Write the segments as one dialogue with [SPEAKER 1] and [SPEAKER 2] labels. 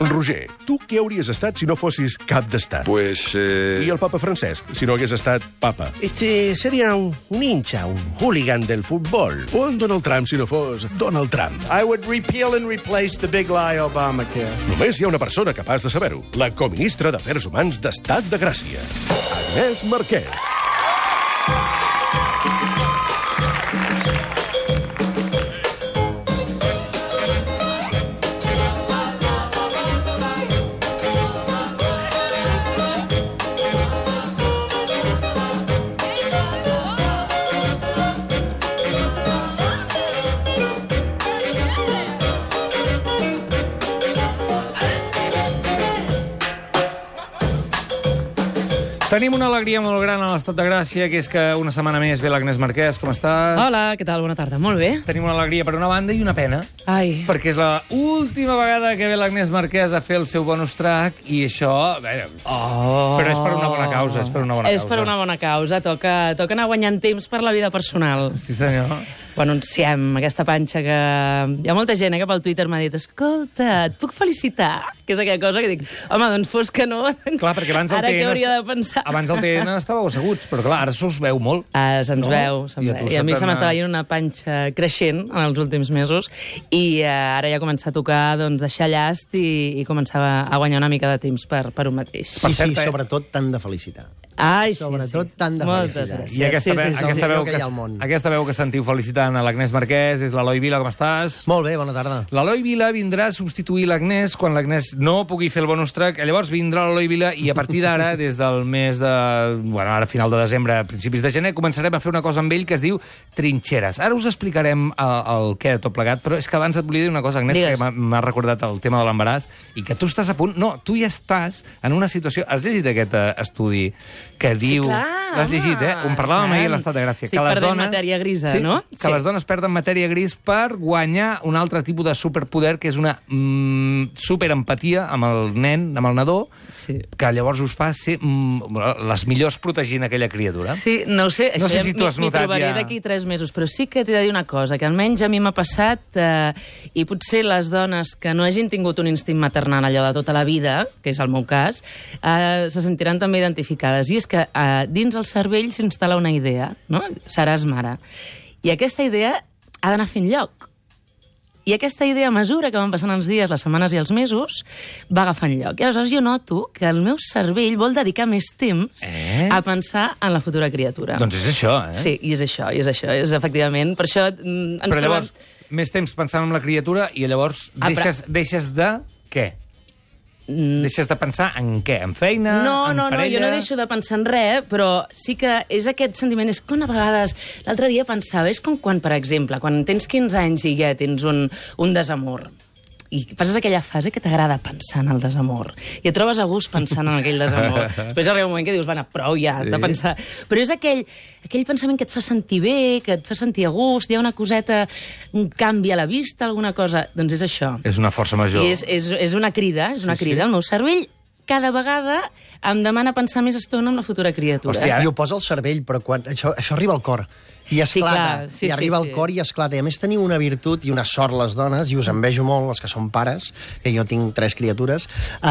[SPEAKER 1] Roger, tu què hauries estat si no fossis cap d'estat?
[SPEAKER 2] Pues... Eh...
[SPEAKER 1] I el papa Francesc, si no hagués estat papa?
[SPEAKER 3] Este sería un, un hincha, un hooligan del fútbol.
[SPEAKER 1] O en Donald Trump, si no fos Donald Trump?
[SPEAKER 4] I would repeal and replace the big lie Obamacare.
[SPEAKER 1] Només hi ha una persona capaç de saber-ho. La coministra d'Afers Humans d'Estat de Gràcia, Agnès Marquès.
[SPEAKER 5] Tenim una alegria molt gran a l'estat de Gràcia, que és que una setmana més ve l'Agnès Marquès. Com estàs?
[SPEAKER 6] Hola, què tal? Bona tarda. Molt bé.
[SPEAKER 5] Tenim una alegria per una banda i una pena.
[SPEAKER 6] Ai,
[SPEAKER 5] Perquè és la última vegada que ve l'Agnès Marquès a fer el seu bonus track i això... Bé, oh. Però és per una bona causa, és per una bona
[SPEAKER 6] és
[SPEAKER 5] causa.
[SPEAKER 6] per una bona causa. Toca, toca anar guanyant temps per la vida personal.
[SPEAKER 5] Sí, senyor.
[SPEAKER 6] Ho anunciem, aquesta panxa que... Hi ha molta gent eh, que pel Twitter m'ha dit escolta, et puc felicitar? Que és aquella cosa que dic, home, doncs fos que no.
[SPEAKER 5] Clar, perquè abans el
[SPEAKER 6] Ara
[SPEAKER 5] TN...
[SPEAKER 6] què hauria
[SPEAKER 5] est-
[SPEAKER 6] de pensar?
[SPEAKER 5] Abans el TN estàveu asseguts, però clar, ara se'ls veu molt.
[SPEAKER 6] Ah, se'ns
[SPEAKER 5] No?
[SPEAKER 6] no? veu, se'm
[SPEAKER 5] I a
[SPEAKER 6] veu.
[SPEAKER 5] tu
[SPEAKER 6] I a
[SPEAKER 5] se
[SPEAKER 6] mi
[SPEAKER 5] t'ha
[SPEAKER 6] se m'estava
[SPEAKER 5] anat.
[SPEAKER 6] dient una panxa creixent en els últims mesos i eh, ara ja comença a tocar doncs, deixar llast i, i començava a guanyar una mica de temps per, per un mateix.
[SPEAKER 5] Per
[SPEAKER 7] Sí,
[SPEAKER 5] cert,
[SPEAKER 7] sí,
[SPEAKER 5] eh?
[SPEAKER 7] sobretot t'han de felicitar.
[SPEAKER 6] Ai,
[SPEAKER 7] Sobretot tant de
[SPEAKER 6] Moltes
[SPEAKER 7] felicitat.
[SPEAKER 6] gràcies.
[SPEAKER 5] I aquesta,
[SPEAKER 6] sí,
[SPEAKER 5] ve-
[SPEAKER 6] sí, sí,
[SPEAKER 5] aquesta,
[SPEAKER 7] El
[SPEAKER 5] veu
[SPEAKER 7] millor que hi ha al món.
[SPEAKER 5] aquesta veu que sentiu felicitant a l'Agnès Marquès és l'Eloi Vila. Com estàs?
[SPEAKER 7] Molt bé, bona tarda.
[SPEAKER 5] L'Eloi Vila vindrà a substituir l'Agnès quan l'Agnès no pugui fer el bonus track. Llavors vindrà l'Eloi Vila i a partir d'ara, des del mes de... Bueno, ara final de desembre, principis de gener, començarem a fer una cosa amb ell que es diu trinxeres. Ara us explicarem el, el què de tot plegat, però és que abans et volia dir una cosa, Agnès,
[SPEAKER 6] Digues.
[SPEAKER 5] que m'ha- m'ha recordat el tema de l'embaràs i que tu estàs a punt... No, tu ja estàs en una situació... Has llegit aquest eh, estudi que diu...
[SPEAKER 6] clar,
[SPEAKER 5] L'has
[SPEAKER 6] home,
[SPEAKER 5] llegit, eh? On parlàvem
[SPEAKER 6] tant.
[SPEAKER 5] ahir a l'Estat de Gràcia.
[SPEAKER 6] Estic perdent matèria grisa,
[SPEAKER 5] sí,
[SPEAKER 6] no?
[SPEAKER 5] Que
[SPEAKER 6] Sí.
[SPEAKER 5] les dones perden matèria gris per guanyar un altre tipus de superpoder, que és una mm, superempatia amb el nen, amb el nadó,
[SPEAKER 6] Sí.
[SPEAKER 5] que llavors us fa ser mm, les millors protegint aquella criatura.
[SPEAKER 6] Sí, no ho sé,
[SPEAKER 5] No
[SPEAKER 6] això
[SPEAKER 5] sé
[SPEAKER 6] ja
[SPEAKER 5] si tu
[SPEAKER 6] m'hi-
[SPEAKER 5] has
[SPEAKER 6] m'hi
[SPEAKER 5] notat
[SPEAKER 6] trobaré
[SPEAKER 5] ja.
[SPEAKER 6] d'aquí tres mesos, però sí que t'he de dir una cosa, que almenys a mi m'ha passat, eh, i potser les dones que no hagin tingut un instint maternal allò de tota la vida, que és el meu cas, eh, se sentiran també identificades. I és que eh, dins el cervell s'instal·la una idea, no? Seràs mare. I aquesta idea ha d'anar fent lloc. I aquesta idea, a mesura que van passant els dies, les setmanes i els mesos, va agafant lloc. I aleshores jo noto que el meu cervell vol dedicar més temps
[SPEAKER 5] Eh?
[SPEAKER 6] a pensar en la futura criatura.
[SPEAKER 5] Doncs és això, eh?
[SPEAKER 6] Sí, i és això, i és això, és efectivament. Per això mm, ens
[SPEAKER 5] Però llavors,
[SPEAKER 6] trobem...
[SPEAKER 5] més temps pensant en la criatura i llavors
[SPEAKER 6] Ah, però-
[SPEAKER 5] deixes, deixes de... què?
[SPEAKER 6] Mm.
[SPEAKER 5] Deixes de pensar en què? En feina?
[SPEAKER 6] No,
[SPEAKER 5] en
[SPEAKER 6] no, no,
[SPEAKER 5] parella?
[SPEAKER 6] jo no deixo de pensar en res, però sí que és aquest sentiment, és com a vegades, l'altre dia pensava, és com quan, per exemple, quan tens 15 anys i ja tens un, un desamor, i passes aquella fase que t'agrada pensar en el desamor. I et trobes a gust pensant en aquell desamor. Després arriba un moment que dius, bueno, prou ja sí. de pensar. Però és aquell, aquell pensament que et fa sentir bé, que et fa sentir a gust, hi ha una coseta, un canvi a la vista, alguna cosa... Doncs és això.
[SPEAKER 5] És una força major.
[SPEAKER 6] I és, és, és una crida, és una
[SPEAKER 5] Sí, sí.
[SPEAKER 6] sí, crida. Sí. El meu cervell cada vegada em demana pensar més estona en la futura criatura.
[SPEAKER 5] Hòstia, ara-
[SPEAKER 7] I ho posa al cervell, però quan... això, això arriba al cor. I
[SPEAKER 6] Sí,
[SPEAKER 7] esclata.
[SPEAKER 6] clar, sí, sí,
[SPEAKER 7] I arriba
[SPEAKER 6] sí.
[SPEAKER 7] al cor i esclata. I a més teniu una virtut i una sort les dones, i us envejo molt els que són pares, que jo tinc tres criatures,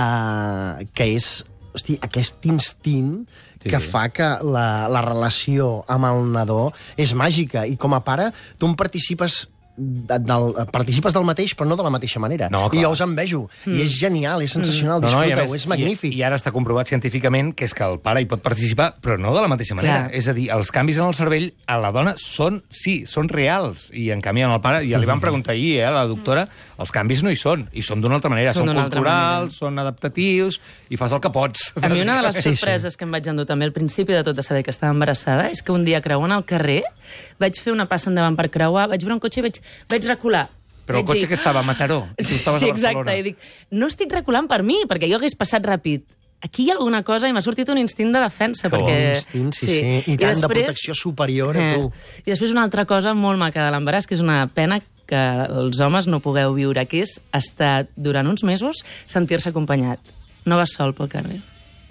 [SPEAKER 7] uh, que és hosti, aquest instint que fa que la, la relació amb el nadó és màgica. I com a pare, tu en participes de- del, participes del mateix, però no de la mateixa manera.
[SPEAKER 5] No, clar.
[SPEAKER 7] I jo us envejo. Mm. I és genial, és sensacional, mm.
[SPEAKER 5] i a
[SPEAKER 7] disfruta-ho,
[SPEAKER 5] més-
[SPEAKER 7] és magnífic.
[SPEAKER 5] I, I ara està comprovat científicament que és que el pare hi pot participar, però no de la mateixa manera.
[SPEAKER 6] Clar.
[SPEAKER 5] És a dir, els canvis en el cervell a la dona són, sí, són reals. I en canvi en el pare, ja li
[SPEAKER 6] Mm.
[SPEAKER 5] van preguntar ahir, eh, a la doctora, els canvis no hi són. I són d'una altra manera.
[SPEAKER 6] Són
[SPEAKER 5] Són,
[SPEAKER 6] d'una altra
[SPEAKER 5] culturals, són adaptatius, i fas el que pots.
[SPEAKER 6] A mi una de les
[SPEAKER 5] bàsicament.
[SPEAKER 6] sorpreses que em vaig endur també al principi de tot de saber que estava embarassada és que un dia creuant al carrer vaig fer una passa endavant per creuar, vaig veure un cotxe i vaig, vaig recular.
[SPEAKER 5] Però el
[SPEAKER 6] Vaig
[SPEAKER 5] cotxe
[SPEAKER 6] dir,
[SPEAKER 5] que estava a Mataró, i tu
[SPEAKER 6] Sí,
[SPEAKER 5] estaves a Barcelona.
[SPEAKER 6] exacte, i dic, no estic reculant per mi, perquè jo hagués passat ràpid. Aquí hi ha alguna cosa i m'ha sortit un instint de defensa.
[SPEAKER 5] Que
[SPEAKER 6] perquè...
[SPEAKER 7] Un instint, sí, sí. I tant, de protecció superior a
[SPEAKER 5] Eh.
[SPEAKER 7] tu.
[SPEAKER 6] Eh. I després una altra cosa molt maca de l'embaràs, que és una pena que els homes no pugueu viure, que és estar durant uns mesos sentir-se acompanyat. No vas sol pel carrer.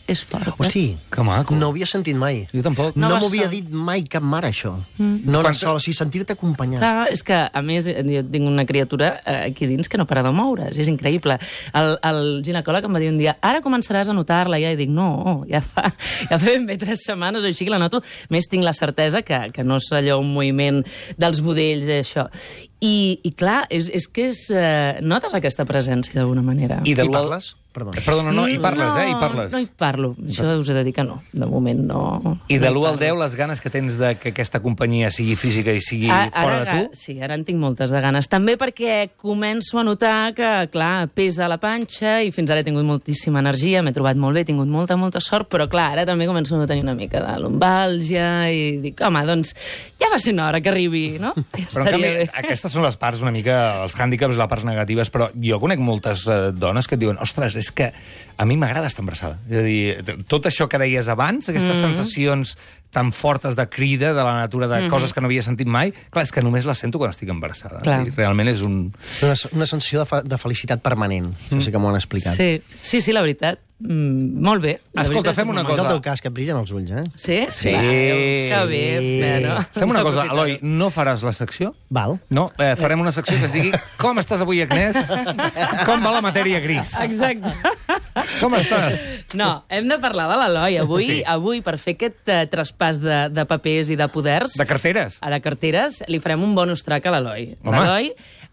[SPEAKER 6] és fort. eh?
[SPEAKER 7] Hosti,
[SPEAKER 5] Que maco.
[SPEAKER 7] no ho havia sentit mai.
[SPEAKER 5] Jo tampoc.
[SPEAKER 7] No,
[SPEAKER 6] No
[SPEAKER 7] no
[SPEAKER 6] vas
[SPEAKER 7] m'ho havia
[SPEAKER 6] sol.
[SPEAKER 7] dit mai cap mare, això. Mm. No anar sol, o sigui, sentir-te acompanyat.
[SPEAKER 6] Clar, és que, a més, jo tinc una criatura eh, aquí dins que no para de moure's, és increïble. El, el ginecòleg em va dir un dia, ara començaràs a notar-la, ja, i dic, no, ja fa, ja fa ben bé tres setmanes, o així que la noto. A més, tinc la certesa que, que no és allò un moviment dels budells, eh, això. I, i clar, és, és que és, eh, notes aquesta presència d'alguna manera.
[SPEAKER 5] I, de
[SPEAKER 7] I
[SPEAKER 5] l'u-
[SPEAKER 7] parles? Perdó.
[SPEAKER 5] Perdona, no, i parles,
[SPEAKER 6] no,
[SPEAKER 5] eh? I parles.
[SPEAKER 6] No hi parlo, això us he de dir que no, de moment no.
[SPEAKER 5] I de l'1 al 10, les ganes que tens de que aquesta companyia sigui física i sigui
[SPEAKER 6] A-
[SPEAKER 5] fora de
[SPEAKER 6] ga-
[SPEAKER 5] tu?
[SPEAKER 6] Sí, ara en tinc moltes de ganes. També perquè començo a notar que, clar, pesa la panxa i fins ara he tingut moltíssima energia, m'he trobat molt bé, he tingut molta, molta sort, però clar, ara també començo a tenir una mica de lumbàlgia i dic, home, doncs ja va ser una hora que arribi, no? Ja
[SPEAKER 5] Però, en canvi, aquestes són les parts una mica, els hàndicaps, les parts negatives, però jo conec moltes eh, dones que et diuen ostres, és que a mi m'agrada estar embarassada. És a dir, t- tot això que deies abans, aquestes mm -hmm. sensacions tan fortes de crida de la natura, de mm -hmm. coses que no havia sentit mai, clar, és que només les sento quan estic embarassada.
[SPEAKER 6] Clar.
[SPEAKER 5] I realment és un...
[SPEAKER 7] Una, una sensació de, fa, de felicitat permanent. Mm. Sí que m'ho han explicat.
[SPEAKER 6] Sí, sí, sí, la veritat. Mm, molt bé. La
[SPEAKER 5] Escolta,
[SPEAKER 6] veritat és
[SPEAKER 5] fem
[SPEAKER 6] que
[SPEAKER 5] una
[SPEAKER 6] molt
[SPEAKER 7] És
[SPEAKER 5] cosa.
[SPEAKER 7] el teu cas, que et brillen els ulls, eh?
[SPEAKER 6] Sí?
[SPEAKER 5] Sí.
[SPEAKER 6] Va, que bé, bueno.
[SPEAKER 5] Fem una cosa,
[SPEAKER 6] Aprofitaré.
[SPEAKER 5] Eloi, no faràs la secció?
[SPEAKER 7] Val.
[SPEAKER 5] No, eh, farem una secció que es digui Com estàs avui, Agnès? Com va la matèria gris?
[SPEAKER 6] Exacte.
[SPEAKER 5] Com estàs?
[SPEAKER 6] No, hem de parlar de l'Eloi. Avui,
[SPEAKER 5] Sí.
[SPEAKER 6] sí. avui, per fer aquest eh, traspàs de, de papers i de poders...
[SPEAKER 5] De carteres?
[SPEAKER 6] A de carteres, li farem un bonus track a l'Eloi.
[SPEAKER 5] Home.
[SPEAKER 6] L'Eloi,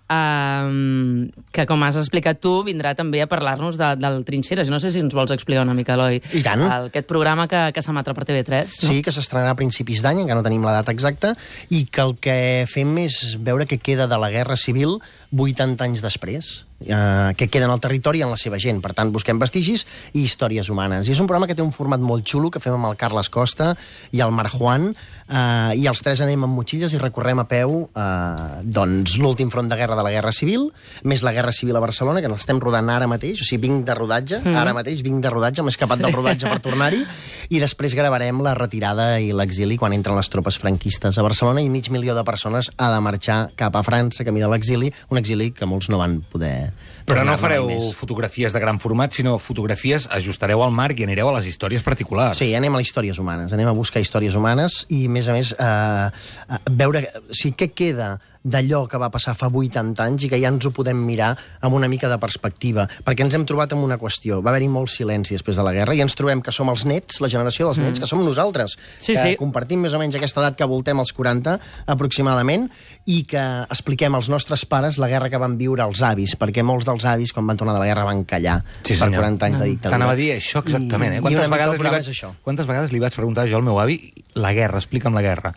[SPEAKER 6] um, que com has explicat tu, vindrà també a parlar-nos de, del Trinxeres. No sé si ens vols explicar una mica, Eloi.
[SPEAKER 7] I tant.
[SPEAKER 6] El, aquest programa que, que s'emetrà per TV3. No?
[SPEAKER 7] Sí, que s'estrenarà a principis d'any, encara no tenim la data exacta, i que el que fem és veure què queda de la Guerra Civil 80 anys després, eh, què queda en el territori i en la seva gent. Per tant, busquem vestigis i històries humanes. I és un programa que té un format molt xulo, que fem amb el Carles Costa i el Mar Juan, eh, i els tres anem amb motxilles i recorrem a peu eh, doncs, l'últim front de guerra de la Guerra Civil, més la Guerra Civil a Barcelona, que l'estem rodant ara mateix, o sigui, vinc de rodatge, mm. ara mateix vinc de rodatge, m'he escapat del rodatge per tornar-hi, i després gravarem la retirada i l'exili quan entren les tropes franquistes a Barcelona i mig milió de persones ha de marxar cap a França, camí de l'exili, un exili que molts no van poder...
[SPEAKER 5] Però no
[SPEAKER 7] tornar-ne
[SPEAKER 5] fareu
[SPEAKER 7] mai més.
[SPEAKER 5] fotografies de gran format, sinó fotografies ajustareu al marc i anireu a les històries particulars.
[SPEAKER 7] Sí, anem a les històries humanes, anem a buscar històries humanes i, a més a més, eh, eh, veure o sigui, què queda d'allò que va passar fa 80 anys i que ja ens ho podem mirar amb una mica de perspectiva, perquè ens hem trobat amb una qüestió. Va haver-hi molt silenci després de la guerra i ens trobem que som els nets, la generació dels
[SPEAKER 5] Mm.
[SPEAKER 7] nets, que som nosaltres,
[SPEAKER 6] Sí,
[SPEAKER 7] que
[SPEAKER 6] sí.
[SPEAKER 7] compartim més o menys aquesta edat que voltem els 40, aproximadament, i que expliquem als nostres pares la guerra que van viure els avis, perquè molts dels avis, quan van tornar de la guerra, van callar
[SPEAKER 5] Sí,
[SPEAKER 7] per
[SPEAKER 5] senyor. Mm.
[SPEAKER 7] 40 anys de dictadura.
[SPEAKER 5] T'anava a dir això exactament, eh?
[SPEAKER 7] I- i
[SPEAKER 5] Quantes
[SPEAKER 7] una mica el
[SPEAKER 5] vegades, li
[SPEAKER 7] programa
[SPEAKER 5] vaig,
[SPEAKER 7] és això.
[SPEAKER 5] quantes vegades li vaig preguntar jo al meu avi la guerra, explica'm la guerra.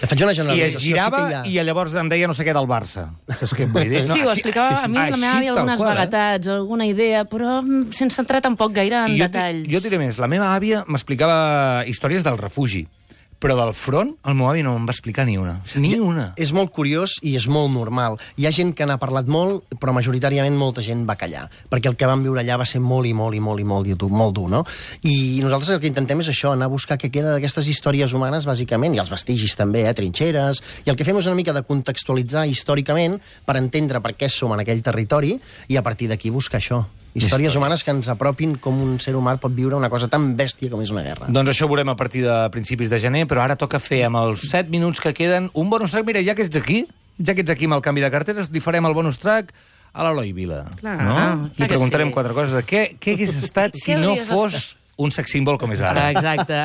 [SPEAKER 7] Faig
[SPEAKER 5] I
[SPEAKER 7] una
[SPEAKER 5] es
[SPEAKER 7] generalització.
[SPEAKER 5] girava
[SPEAKER 7] sí que hi
[SPEAKER 5] i llavors em deia no sé què del Barça. És que vull dir, no,
[SPEAKER 6] Sí, ho
[SPEAKER 5] així-
[SPEAKER 6] explicava
[SPEAKER 5] així-
[SPEAKER 6] a mi la meva
[SPEAKER 5] així,
[SPEAKER 6] àvia
[SPEAKER 5] tal
[SPEAKER 6] algunes
[SPEAKER 5] qual, eh?
[SPEAKER 6] vaguetats, alguna idea, però mm, sense entrar tampoc gaire en
[SPEAKER 5] I jo, ti-
[SPEAKER 6] detalls.
[SPEAKER 5] Jo diré més, la meva àvia m'explicava històries del refugi, però del front el meu avi no em va explicar ni una. Ni
[SPEAKER 6] Ah.
[SPEAKER 5] una.
[SPEAKER 7] És molt curiós i és molt normal. Hi ha gent que n'ha parlat molt, però majoritàriament molta gent va callar, perquè el que van viure allà va ser molt i molt i molt i molt, i dur, molt dur, no? I nosaltres el que intentem és això, anar a buscar què queda d'aquestes històries humanes, bàsicament, i els vestigis també, eh, trinxeres, i el que fem és una mica de contextualitzar històricament per entendre per què som en aquell territori i a partir d'aquí buscar això. Històries humanes que ens apropin com un ser humà pot viure una cosa tan bèstia com és una guerra.
[SPEAKER 5] Doncs això ho veurem a partir de principis de gener, però ara toca fer amb els 7 minuts que queden un bonus track. Mira, ja que ets aquí, ja que ets aquí amb el canvi de carteres, li farem el bonus track a l'Eloi Vila.
[SPEAKER 6] Clar, Ah,
[SPEAKER 5] no?
[SPEAKER 6] clar
[SPEAKER 5] li
[SPEAKER 6] que
[SPEAKER 5] preguntarem
[SPEAKER 6] sí.
[SPEAKER 5] quatre coses de què, què hagués estat si
[SPEAKER 6] Què
[SPEAKER 5] no
[SPEAKER 6] hauries
[SPEAKER 5] fos un sex símbol com és ara.
[SPEAKER 6] Ah, exacte.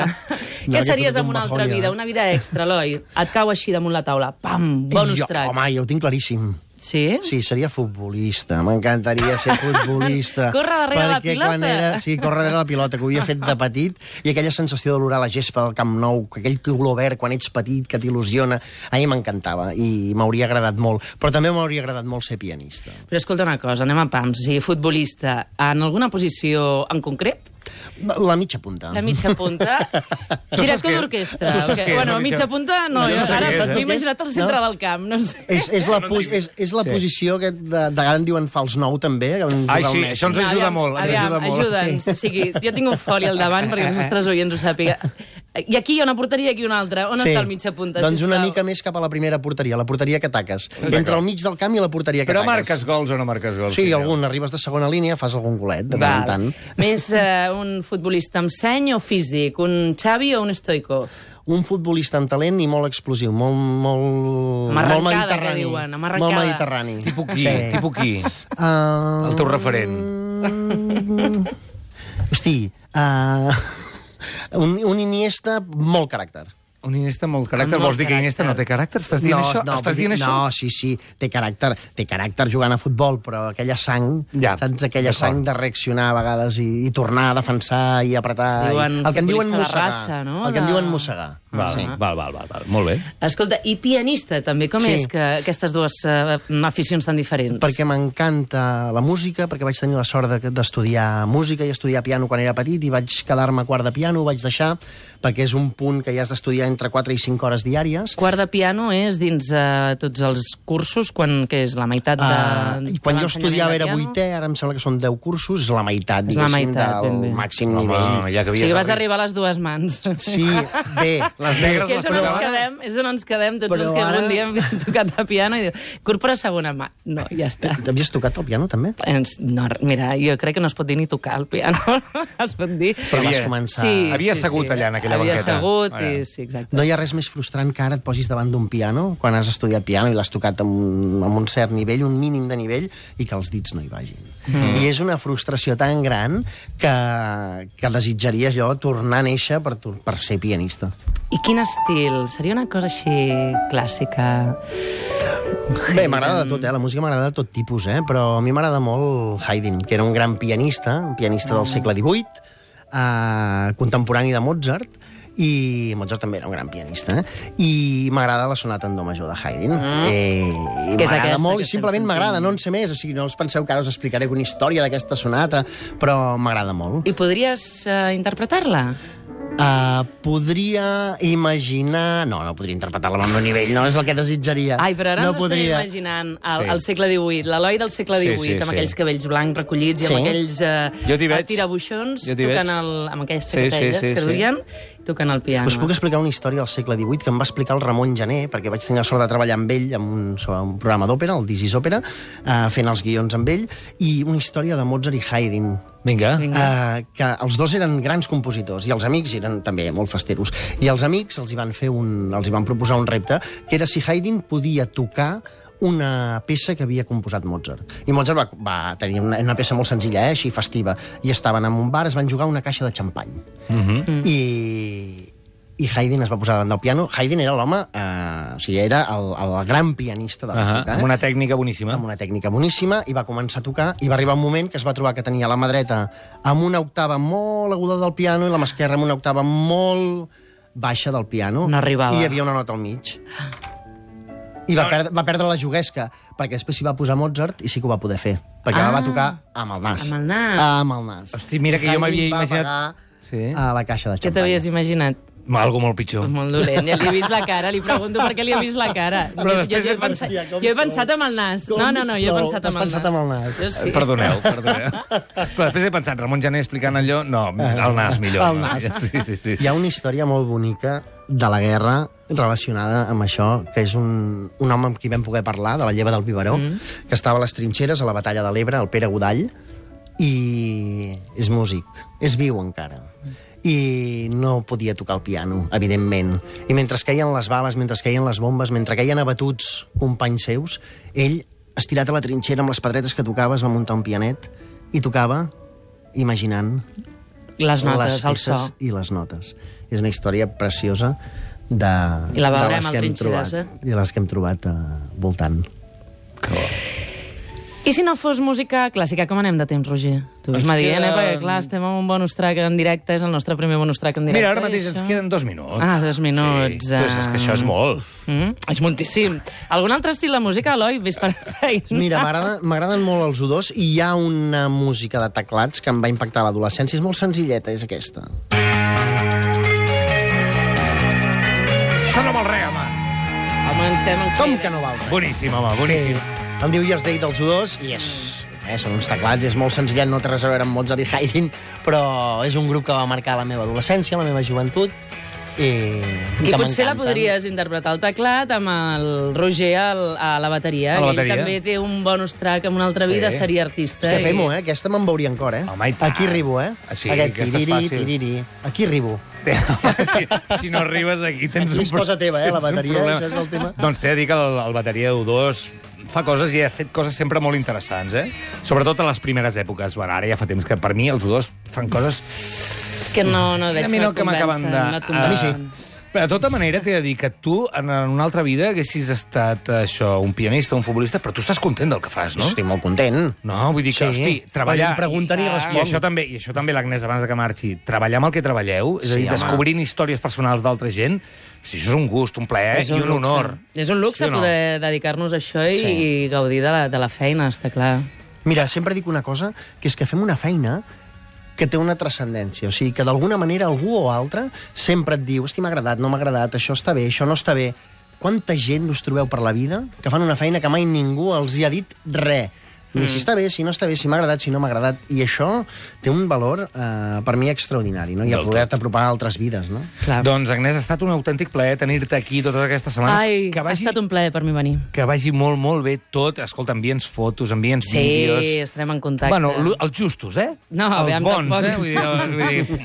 [SPEAKER 7] No,
[SPEAKER 6] Què
[SPEAKER 7] que
[SPEAKER 6] series
[SPEAKER 7] tot
[SPEAKER 6] amb
[SPEAKER 7] un
[SPEAKER 6] una altra
[SPEAKER 7] bajón, ja.
[SPEAKER 6] vida?
[SPEAKER 5] eh?
[SPEAKER 6] Una vida extra, Eloi? Et cau així damunt la taula. Pam, bonus
[SPEAKER 7] jo,
[SPEAKER 6] track.
[SPEAKER 7] Home, jo ho tinc claríssim.
[SPEAKER 6] Sí?
[SPEAKER 7] Sí, seria futbolista. M'encantaria ser futbolista.
[SPEAKER 6] Corre darrere la
[SPEAKER 7] Perquè
[SPEAKER 6] pilota.
[SPEAKER 7] Quan era, sí, corre darrere la pilota, que ho havia fet de petit, i aquella sensació d'olorar la gespa del Camp Nou, que aquell color verd quan ets petit, que t'il·lusiona, a mi m'encantava i m'hauria agradat molt. Però també m'hauria agradat molt ser pianista.
[SPEAKER 6] Però escolta una cosa, anem a pams. Sí, futbolista, en alguna posició en concret?
[SPEAKER 7] La mitja punta.
[SPEAKER 6] La mitja punta?
[SPEAKER 5] Ah. Tu saps
[SPEAKER 6] Director
[SPEAKER 5] què-
[SPEAKER 6] d'orquestra.
[SPEAKER 5] tu saps
[SPEAKER 6] perquè-
[SPEAKER 5] què és,
[SPEAKER 6] Bueno,
[SPEAKER 5] la
[SPEAKER 6] a mitja
[SPEAKER 5] mitja-
[SPEAKER 6] punta no.
[SPEAKER 5] No, jo
[SPEAKER 6] jo
[SPEAKER 5] no sé
[SPEAKER 6] ara
[SPEAKER 5] què és, eh?
[SPEAKER 6] m'he imaginat al centre del camp, no sé.
[SPEAKER 7] És, és la, pu- és, és la
[SPEAKER 5] Sí.
[SPEAKER 7] posició que de, de vegades en diuen fals nou, també. que van
[SPEAKER 5] Ai,
[SPEAKER 7] jugar
[SPEAKER 5] sí,
[SPEAKER 7] al Messi.
[SPEAKER 5] això ens Doncs ajuda
[SPEAKER 6] aviam,
[SPEAKER 5] molt. Eh, Ens
[SPEAKER 6] Aviam,
[SPEAKER 5] ajuda molt.
[SPEAKER 6] ajuda'ns. Sí. O sigui, jo tinc un foli al davant perquè els nostres oients ho sàpiga. I aquí hi ha una porteria, aquí una altra. On sí. està el mitja punta,
[SPEAKER 7] Doncs una
[SPEAKER 6] sisplau?
[SPEAKER 7] mica més cap a la primera porteria, la porteria que ataques. Entre el mig del camp i la porteria que
[SPEAKER 5] Però
[SPEAKER 7] ataques.
[SPEAKER 5] marques gols o no marques gols?
[SPEAKER 7] Sí,
[SPEAKER 5] Fidel?
[SPEAKER 7] algun, arribes de segona línia, fas algun golet, de tant en
[SPEAKER 6] Val.
[SPEAKER 7] tant.
[SPEAKER 6] Més
[SPEAKER 7] eh,
[SPEAKER 6] uh, un futbolista amb seny o físic? Un Xavi o un Stoikov?
[SPEAKER 7] Un futbolista amb talent i molt explosiu, molt, molt,
[SPEAKER 6] Amb arrencada,
[SPEAKER 7] molt
[SPEAKER 6] que
[SPEAKER 7] mediterrani.
[SPEAKER 6] diuen, amb
[SPEAKER 7] molt
[SPEAKER 6] arrencada.
[SPEAKER 7] mediterrani.
[SPEAKER 5] Tipus qui? Tipus qui?
[SPEAKER 7] Uh,
[SPEAKER 5] El teu referent.
[SPEAKER 7] Hosti, uh, un, un Iniesta molt caràcter.
[SPEAKER 5] Un Iniesta amb molt caràcter.
[SPEAKER 6] Amb
[SPEAKER 5] Vols
[SPEAKER 6] molt
[SPEAKER 5] dir que Iniesta no té
[SPEAKER 6] caràcter.
[SPEAKER 5] caràcter? Estàs dient això? Estàs
[SPEAKER 7] vull
[SPEAKER 5] dient
[SPEAKER 7] dir-
[SPEAKER 5] això?
[SPEAKER 7] No, sí, sí, té caràcter, té caràcter jugant a futbol, però aquella sang,
[SPEAKER 5] Ja,
[SPEAKER 7] ja, saps? Aquella
[SPEAKER 5] d'acord.
[SPEAKER 7] sang de reaccionar a vegades i, i tornar a defensar i apretar.
[SPEAKER 6] Diuen
[SPEAKER 7] i, el que en diuen
[SPEAKER 6] futbolista de
[SPEAKER 7] mossegar.
[SPEAKER 6] raça, no?
[SPEAKER 7] El que en
[SPEAKER 6] De-
[SPEAKER 7] diuen mossegar.
[SPEAKER 5] Val,
[SPEAKER 7] Sí.
[SPEAKER 5] val, val, val, val. Molt bé.
[SPEAKER 6] Escolta, i pianista, també. Com
[SPEAKER 7] Sí.
[SPEAKER 6] és que aquestes dues uh, aficions tan diferents?
[SPEAKER 7] Perquè m'encanta la música, perquè vaig tenir la sort de- d'estudiar música i estudiar piano quan era petit i vaig quedar-me a quart de piano, ho vaig deixar, perquè és un punt que ja has d'estudiar entre 4 i 5 hores diàries.
[SPEAKER 6] Quart de piano és dins uh, tots els cursos, quan que és la meitat de...
[SPEAKER 7] Ah, I
[SPEAKER 6] de
[SPEAKER 7] quan jo
[SPEAKER 6] l'ensenyament
[SPEAKER 7] estudiava
[SPEAKER 6] de
[SPEAKER 7] era
[SPEAKER 6] piano?
[SPEAKER 7] vuitè, ara em sembla que són 10 cursos, és la meitat,
[SPEAKER 6] És la
[SPEAKER 7] diguéssim,
[SPEAKER 6] meitat, ben bé.
[SPEAKER 7] del màxim
[SPEAKER 5] Home,
[SPEAKER 7] nivell.
[SPEAKER 5] ja
[SPEAKER 6] O
[SPEAKER 5] que havies
[SPEAKER 6] sigui,
[SPEAKER 5] arribat.
[SPEAKER 6] vas arribar a les dues mans.
[SPEAKER 7] Sí, bé, les negres...
[SPEAKER 6] que és on,
[SPEAKER 7] les
[SPEAKER 6] ens
[SPEAKER 7] però-
[SPEAKER 6] quedem, és on ens quedem tots
[SPEAKER 7] però
[SPEAKER 6] els que
[SPEAKER 7] ara-
[SPEAKER 6] algun dia hem tocat a piano i diu, corpora segona mà. No, ja està.
[SPEAKER 7] T'havies tocat el piano, també?
[SPEAKER 6] Ens- No, mira, jo crec que no es pot dir ni tocar el piano. es pot dir...
[SPEAKER 7] Però vas
[SPEAKER 5] Havia-
[SPEAKER 7] començar...
[SPEAKER 5] Havia assegut allà, en aquella
[SPEAKER 6] Havia
[SPEAKER 5] banqueta.
[SPEAKER 6] assegut
[SPEAKER 5] Ara.
[SPEAKER 6] i sí, exacte.
[SPEAKER 7] No hi ha res més frustrant que ara et posis davant d'un piano quan has estudiat piano i l'has tocat amb un, amb un cert nivell, un mínim de nivell, i que els dits no hi vagin. Mm. I és una frustració tan gran que, que desitjaria jo tornar a néixer per, tor- per ser pianista.
[SPEAKER 6] I quin estil? Seria una cosa així clàssica?
[SPEAKER 7] Bé, m'agrada de tot, eh? La música m'agrada de tot tipus, eh? Però a mi m'agrada molt Haydn, que era un gran pianista, un pianista
[SPEAKER 6] Mm.
[SPEAKER 7] del segle XVIII, eh, contemporani de Mozart, i Mozart també era un gran pianista, eh? I m'agrada la sonata en do major de Haydn. Mm. Eh, i
[SPEAKER 6] Que és
[SPEAKER 7] m'agrada
[SPEAKER 6] aquesta
[SPEAKER 7] molt,
[SPEAKER 6] que
[SPEAKER 7] i simplement
[SPEAKER 6] estem
[SPEAKER 7] m'agrada, no en sé més. O sigui, no us penseu que ara us explicaré una història d'aquesta sonata, però m'agrada molt.
[SPEAKER 6] I podries uh, interpretar-la?
[SPEAKER 7] Uh, podria imaginar... No, no podria interpretar-la amb el meu nivell, no és el que desitjaria.
[SPEAKER 6] Ai, però ara
[SPEAKER 7] no
[SPEAKER 6] ens
[SPEAKER 7] podria.
[SPEAKER 6] estem imaginant el,
[SPEAKER 5] Sí.
[SPEAKER 6] sí. el segle XVIII, l'Eloi del segle
[SPEAKER 5] Sí,
[SPEAKER 6] XVIII,
[SPEAKER 5] sí,
[SPEAKER 6] amb
[SPEAKER 5] sí.
[SPEAKER 6] aquells cabells blancs recollits i
[SPEAKER 7] Sí.
[SPEAKER 6] amb aquells
[SPEAKER 5] Jo t'hi
[SPEAKER 6] eh,
[SPEAKER 5] veig.
[SPEAKER 6] tirabuixons,
[SPEAKER 5] Jo t'hi veig.
[SPEAKER 6] tocant el, amb aquelles
[SPEAKER 5] Sí, sí,
[SPEAKER 6] xaquetes
[SPEAKER 5] sí,
[SPEAKER 6] que
[SPEAKER 5] sí.
[SPEAKER 6] duien, tocant el piano.
[SPEAKER 7] Us puc explicar una història del segle XVIII que em va explicar el Ramon Jané, perquè vaig tenir la sort de treballar amb ell en un, sobre un programa d'òpera, el This is Òpera, eh, fent els guions amb ell, i una història de Mozart i Haydn.
[SPEAKER 5] Vinga.
[SPEAKER 7] Eh, que els dos eren grans compositors i els amics eren també molt festeros i els amics els hi van fer un, els hi van proposar un repte que era si Haydn podia tocar una peça que havia composat Mozart. I Mozart va, va tenir una, una peça molt senzilla, eh, així festiva, i estaven en un bar, es van jugar una caixa de xampany.
[SPEAKER 5] Mhm.
[SPEAKER 7] Mm -hmm. I, I Haydn es va posar davant del piano. Haydn era l'home, eh, o sigui, era el, el gran pianista de
[SPEAKER 5] Ahà,
[SPEAKER 7] l'època. eh?
[SPEAKER 5] Amb una tècnica boníssima.
[SPEAKER 7] amb una tècnica boníssima i va començar a tocar i va arribar un moment que es va trobar que tenia la mà dreta amb una octava molt aguda del piano i la mà esquerra amb una octava molt baixa del piano.
[SPEAKER 6] No arribava.
[SPEAKER 7] I hi havia una nota al mig. I va, perdre, va perdre la juguesca, perquè després s'hi va posar Mozart i sí que ho va poder fer, perquè ah,
[SPEAKER 6] Ah.
[SPEAKER 7] la va tocar amb el nas.
[SPEAKER 6] Amb el nas.
[SPEAKER 7] Amb el nas.
[SPEAKER 5] Hosti, mira que jo
[SPEAKER 7] Haydn
[SPEAKER 5] m'havia
[SPEAKER 7] va
[SPEAKER 5] imaginat-
[SPEAKER 7] pagar
[SPEAKER 5] Sí.
[SPEAKER 7] A la caixa de
[SPEAKER 6] Què
[SPEAKER 7] xampany.
[SPEAKER 6] t'havies imaginat?
[SPEAKER 5] Algo molt pitjor.
[SPEAKER 6] És molt dolent, ja li he vist la cara, li pregunto per què li he vist la cara.
[SPEAKER 5] Però
[SPEAKER 6] Jo-
[SPEAKER 5] després
[SPEAKER 6] jo, jo,
[SPEAKER 5] et
[SPEAKER 6] he pensat,
[SPEAKER 7] pensia, com
[SPEAKER 6] jo he
[SPEAKER 7] sou?
[SPEAKER 6] pensat amb el nas.
[SPEAKER 7] Com
[SPEAKER 6] No, no, no, jo he
[SPEAKER 7] sou?
[SPEAKER 6] pensat amb el
[SPEAKER 7] Has
[SPEAKER 6] nas.
[SPEAKER 7] pensat amb el nas.
[SPEAKER 6] Jo sí.
[SPEAKER 5] Eh, Perdoneu, perdoneu. Però després he pensat, Ramon Jané explicant allò... No, el nas millor.
[SPEAKER 7] El
[SPEAKER 5] no?
[SPEAKER 7] nas.
[SPEAKER 5] Sí, sí, sí.
[SPEAKER 7] Hi ha una història molt bonica de la guerra relacionada amb això, que és un, un home amb qui vam poder parlar, de la lleva del biberó, mm. que estava a les trinxeres a la batalla de l'Ebre, el Pere Godall, i és músic, és viu encara i no podia tocar el piano, evidentment. I mentre caien les bales, mentre caien les bombes, mentre caien abatuts companys seus, ell, estirat a la trinxera amb les pedretes que tocava, es va muntar un pianet i tocava imaginant
[SPEAKER 6] Les notes,
[SPEAKER 7] les
[SPEAKER 6] el so.
[SPEAKER 7] peces i les notes. És una història preciosa de,
[SPEAKER 6] I la
[SPEAKER 7] de
[SPEAKER 6] veurem
[SPEAKER 7] les
[SPEAKER 6] al
[SPEAKER 7] que hem
[SPEAKER 6] Trinxeres,
[SPEAKER 7] trobat, i de les que hem trobat eh, voltant.
[SPEAKER 6] I si no fos música clàssica, com anem de temps, Roger? Tu
[SPEAKER 5] Ens
[SPEAKER 6] ves dient,
[SPEAKER 5] queda-
[SPEAKER 6] eh? Perquè, clar, estem amb un bonus track en directe, és el nostre primer bonus track en directe.
[SPEAKER 5] Mira, ara
[SPEAKER 6] i
[SPEAKER 5] mateix ens
[SPEAKER 6] això-
[SPEAKER 5] queden dos minuts.
[SPEAKER 6] Ah, dos minuts.
[SPEAKER 5] Sí. Tu saps que això és
[SPEAKER 7] ah.
[SPEAKER 5] molt.
[SPEAKER 6] Mm, és moltíssim. Algun altre estil de música, Eloi? Ves per feina.
[SPEAKER 7] Mira, m'agrada- m'agraden molt els odors i hi ha una música de teclats que em va impactar a l'adolescència. És molt senzilleta, és aquesta.
[SPEAKER 5] Això no vol res, home.
[SPEAKER 6] Home, ens quedem amb...
[SPEAKER 7] Com que no val res?
[SPEAKER 5] Boníssim, home, boníssim.
[SPEAKER 7] El New Year's Day dels odors i és... Eh, són uns teclats, és molt senzillet, no té res a veure amb Mozart i Haydn, però és un grup que va marcar la meva adolescència, la meva joventut, i,
[SPEAKER 6] I
[SPEAKER 7] que
[SPEAKER 6] potser la
[SPEAKER 7] m'encanten.
[SPEAKER 6] podries interpretar al teclat amb el Roger al, a la bateria.
[SPEAKER 5] A la
[SPEAKER 6] Ell
[SPEAKER 5] bateria.
[SPEAKER 6] també té un bonus track amb una altra
[SPEAKER 5] Sí.
[SPEAKER 6] vida, seria artista.
[SPEAKER 7] Hòstia,
[SPEAKER 6] i-
[SPEAKER 7] fem-ho, eh? Aquesta me'n veuria encara, eh?
[SPEAKER 5] Home, i tant.
[SPEAKER 7] Aquí arribo, eh?
[SPEAKER 5] Ah, sí,
[SPEAKER 7] Aquest
[SPEAKER 5] aquesta és
[SPEAKER 7] tiriri,
[SPEAKER 5] fàcil.
[SPEAKER 7] tiriri. Aquí arribo.
[SPEAKER 5] si, si no arribes aquí tens
[SPEAKER 7] Aquí
[SPEAKER 5] un
[SPEAKER 7] és cosa teva, eh, la
[SPEAKER 5] tens un
[SPEAKER 7] bateria,
[SPEAKER 5] problema.
[SPEAKER 7] això és el tema.
[SPEAKER 5] Doncs t'he de dir que el, el bateria U2 fa coses i ha fet coses sempre molt interessants, eh? Sobretot a les primeres èpoques. Bueno, ara ja fa temps que per mi els U2 fan coses... eh?
[SPEAKER 6] Que no, no veig
[SPEAKER 5] a mi no,
[SPEAKER 6] no,
[SPEAKER 5] que m'acaben de...
[SPEAKER 6] No et convencen.
[SPEAKER 5] Ah, Però de tota manera t'he de dir que tu en una altra vida haguessis estat això, un pianista, un futbolista, però tu estàs content del que fas, no?
[SPEAKER 7] Estic molt content.
[SPEAKER 5] No, vull dir que,
[SPEAKER 7] Sí.
[SPEAKER 5] hosti, treballar...
[SPEAKER 7] Quan ens pregunten i
[SPEAKER 5] I
[SPEAKER 7] responc.
[SPEAKER 5] això també, i això també l'Agnès, abans de que marxi, treballar amb el que treballeu, és a
[SPEAKER 7] Sí,
[SPEAKER 5] dir,
[SPEAKER 7] home.
[SPEAKER 5] descobrint històries personals d'altra gent, hosti, això és un gust, un plaer Eh, i un
[SPEAKER 6] luxe.
[SPEAKER 5] honor.
[SPEAKER 6] És un luxe
[SPEAKER 5] Sí o no?
[SPEAKER 6] poder dedicar-nos a això i,
[SPEAKER 7] Sí.
[SPEAKER 6] i gaudir de la, de la feina, està clar.
[SPEAKER 7] Mira, sempre dic una cosa, que és que fem una feina que té una transcendència. O sigui, que d'alguna manera algú o altre sempre et diu hosti, m'ha agradat, no m'ha agradat, això està bé, això no està bé. Quanta gent us trobeu per la vida que fan una feina que mai ningú els hi ha dit res.
[SPEAKER 5] Mm.
[SPEAKER 7] Ni si està bé, si no està bé, si m'ha agradat, si no m'ha agradat. I això té un valor, eh, per mi, extraordinari, no? I el
[SPEAKER 5] Del
[SPEAKER 7] poder-te apropar a altres vides, no?
[SPEAKER 6] clar.
[SPEAKER 5] Doncs, Agnès, ha estat un autèntic plaer tenir-te aquí totes aquestes setmanes.
[SPEAKER 6] Ai,
[SPEAKER 5] que
[SPEAKER 6] ha
[SPEAKER 5] vagi,
[SPEAKER 6] estat un plaer per mi venir.
[SPEAKER 5] que vagi molt, molt bé tot. Escolta, envia'ns fotos, envia'ns
[SPEAKER 6] Sí,
[SPEAKER 5] vídeos.
[SPEAKER 6] estarem en contacte.
[SPEAKER 5] Bueno, lo- els justos, eh?
[SPEAKER 6] No,
[SPEAKER 5] els
[SPEAKER 6] aviam,
[SPEAKER 5] bons,
[SPEAKER 6] tampoc.
[SPEAKER 5] eh? Vull dir, vull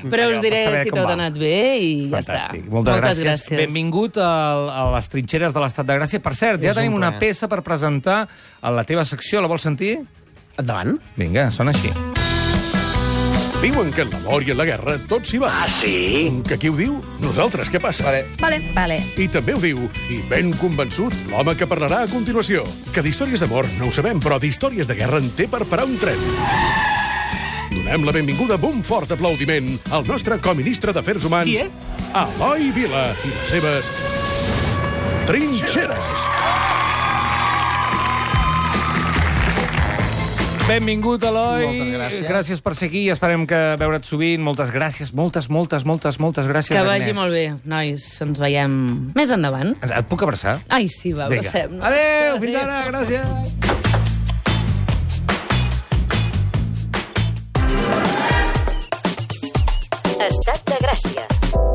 [SPEAKER 5] dir,
[SPEAKER 6] Però us
[SPEAKER 5] allò,
[SPEAKER 6] diré
[SPEAKER 5] per saber
[SPEAKER 6] si
[SPEAKER 5] com
[SPEAKER 6] tot ha
[SPEAKER 5] va.
[SPEAKER 6] anat bé i ja està.
[SPEAKER 5] Fantàstic. Moltes, gràcies. Benvingut al, a les trinxeres de l'Estat de Gràcia. Per cert, ja
[SPEAKER 7] És
[SPEAKER 5] tenim
[SPEAKER 7] un
[SPEAKER 5] una
[SPEAKER 7] plaer.
[SPEAKER 5] peça per presentar a la teva secció. La vols sentir?
[SPEAKER 7] Endavant.
[SPEAKER 5] Vinga, sona així.
[SPEAKER 1] Diuen que en l'amor i en la guerra tot s'hi va. Ah, sí? Que qui ho diu? Nosaltres, què passa? Vale.
[SPEAKER 2] Vale, vale.
[SPEAKER 1] I també ho diu, i ben convençut, l'home que parlarà a continuació. Que d'històries d'amor no ho sabem, però d'històries de guerra en té per parar un tren. Donem la benvinguda amb un fort aplaudiment al nostre coministre d'Afers Humans, Eloi Vila, i les seves... Trinxeres.
[SPEAKER 5] Benvingut, Eloi.
[SPEAKER 7] Moltes gràcies.
[SPEAKER 5] Gràcies per ser aquí i esperem que veure't sovint. Moltes gràcies, moltes, moltes, moltes, moltes gràcies,
[SPEAKER 6] Que vagi
[SPEAKER 5] Agnès.
[SPEAKER 6] molt bé, nois. Ens veiem més endavant.
[SPEAKER 5] Ens- Et puc abraçar?
[SPEAKER 6] Ai, sí, va, abracem-nos.
[SPEAKER 5] Adéu, fins ara, gràcies.
[SPEAKER 2] Estat de Gràcia.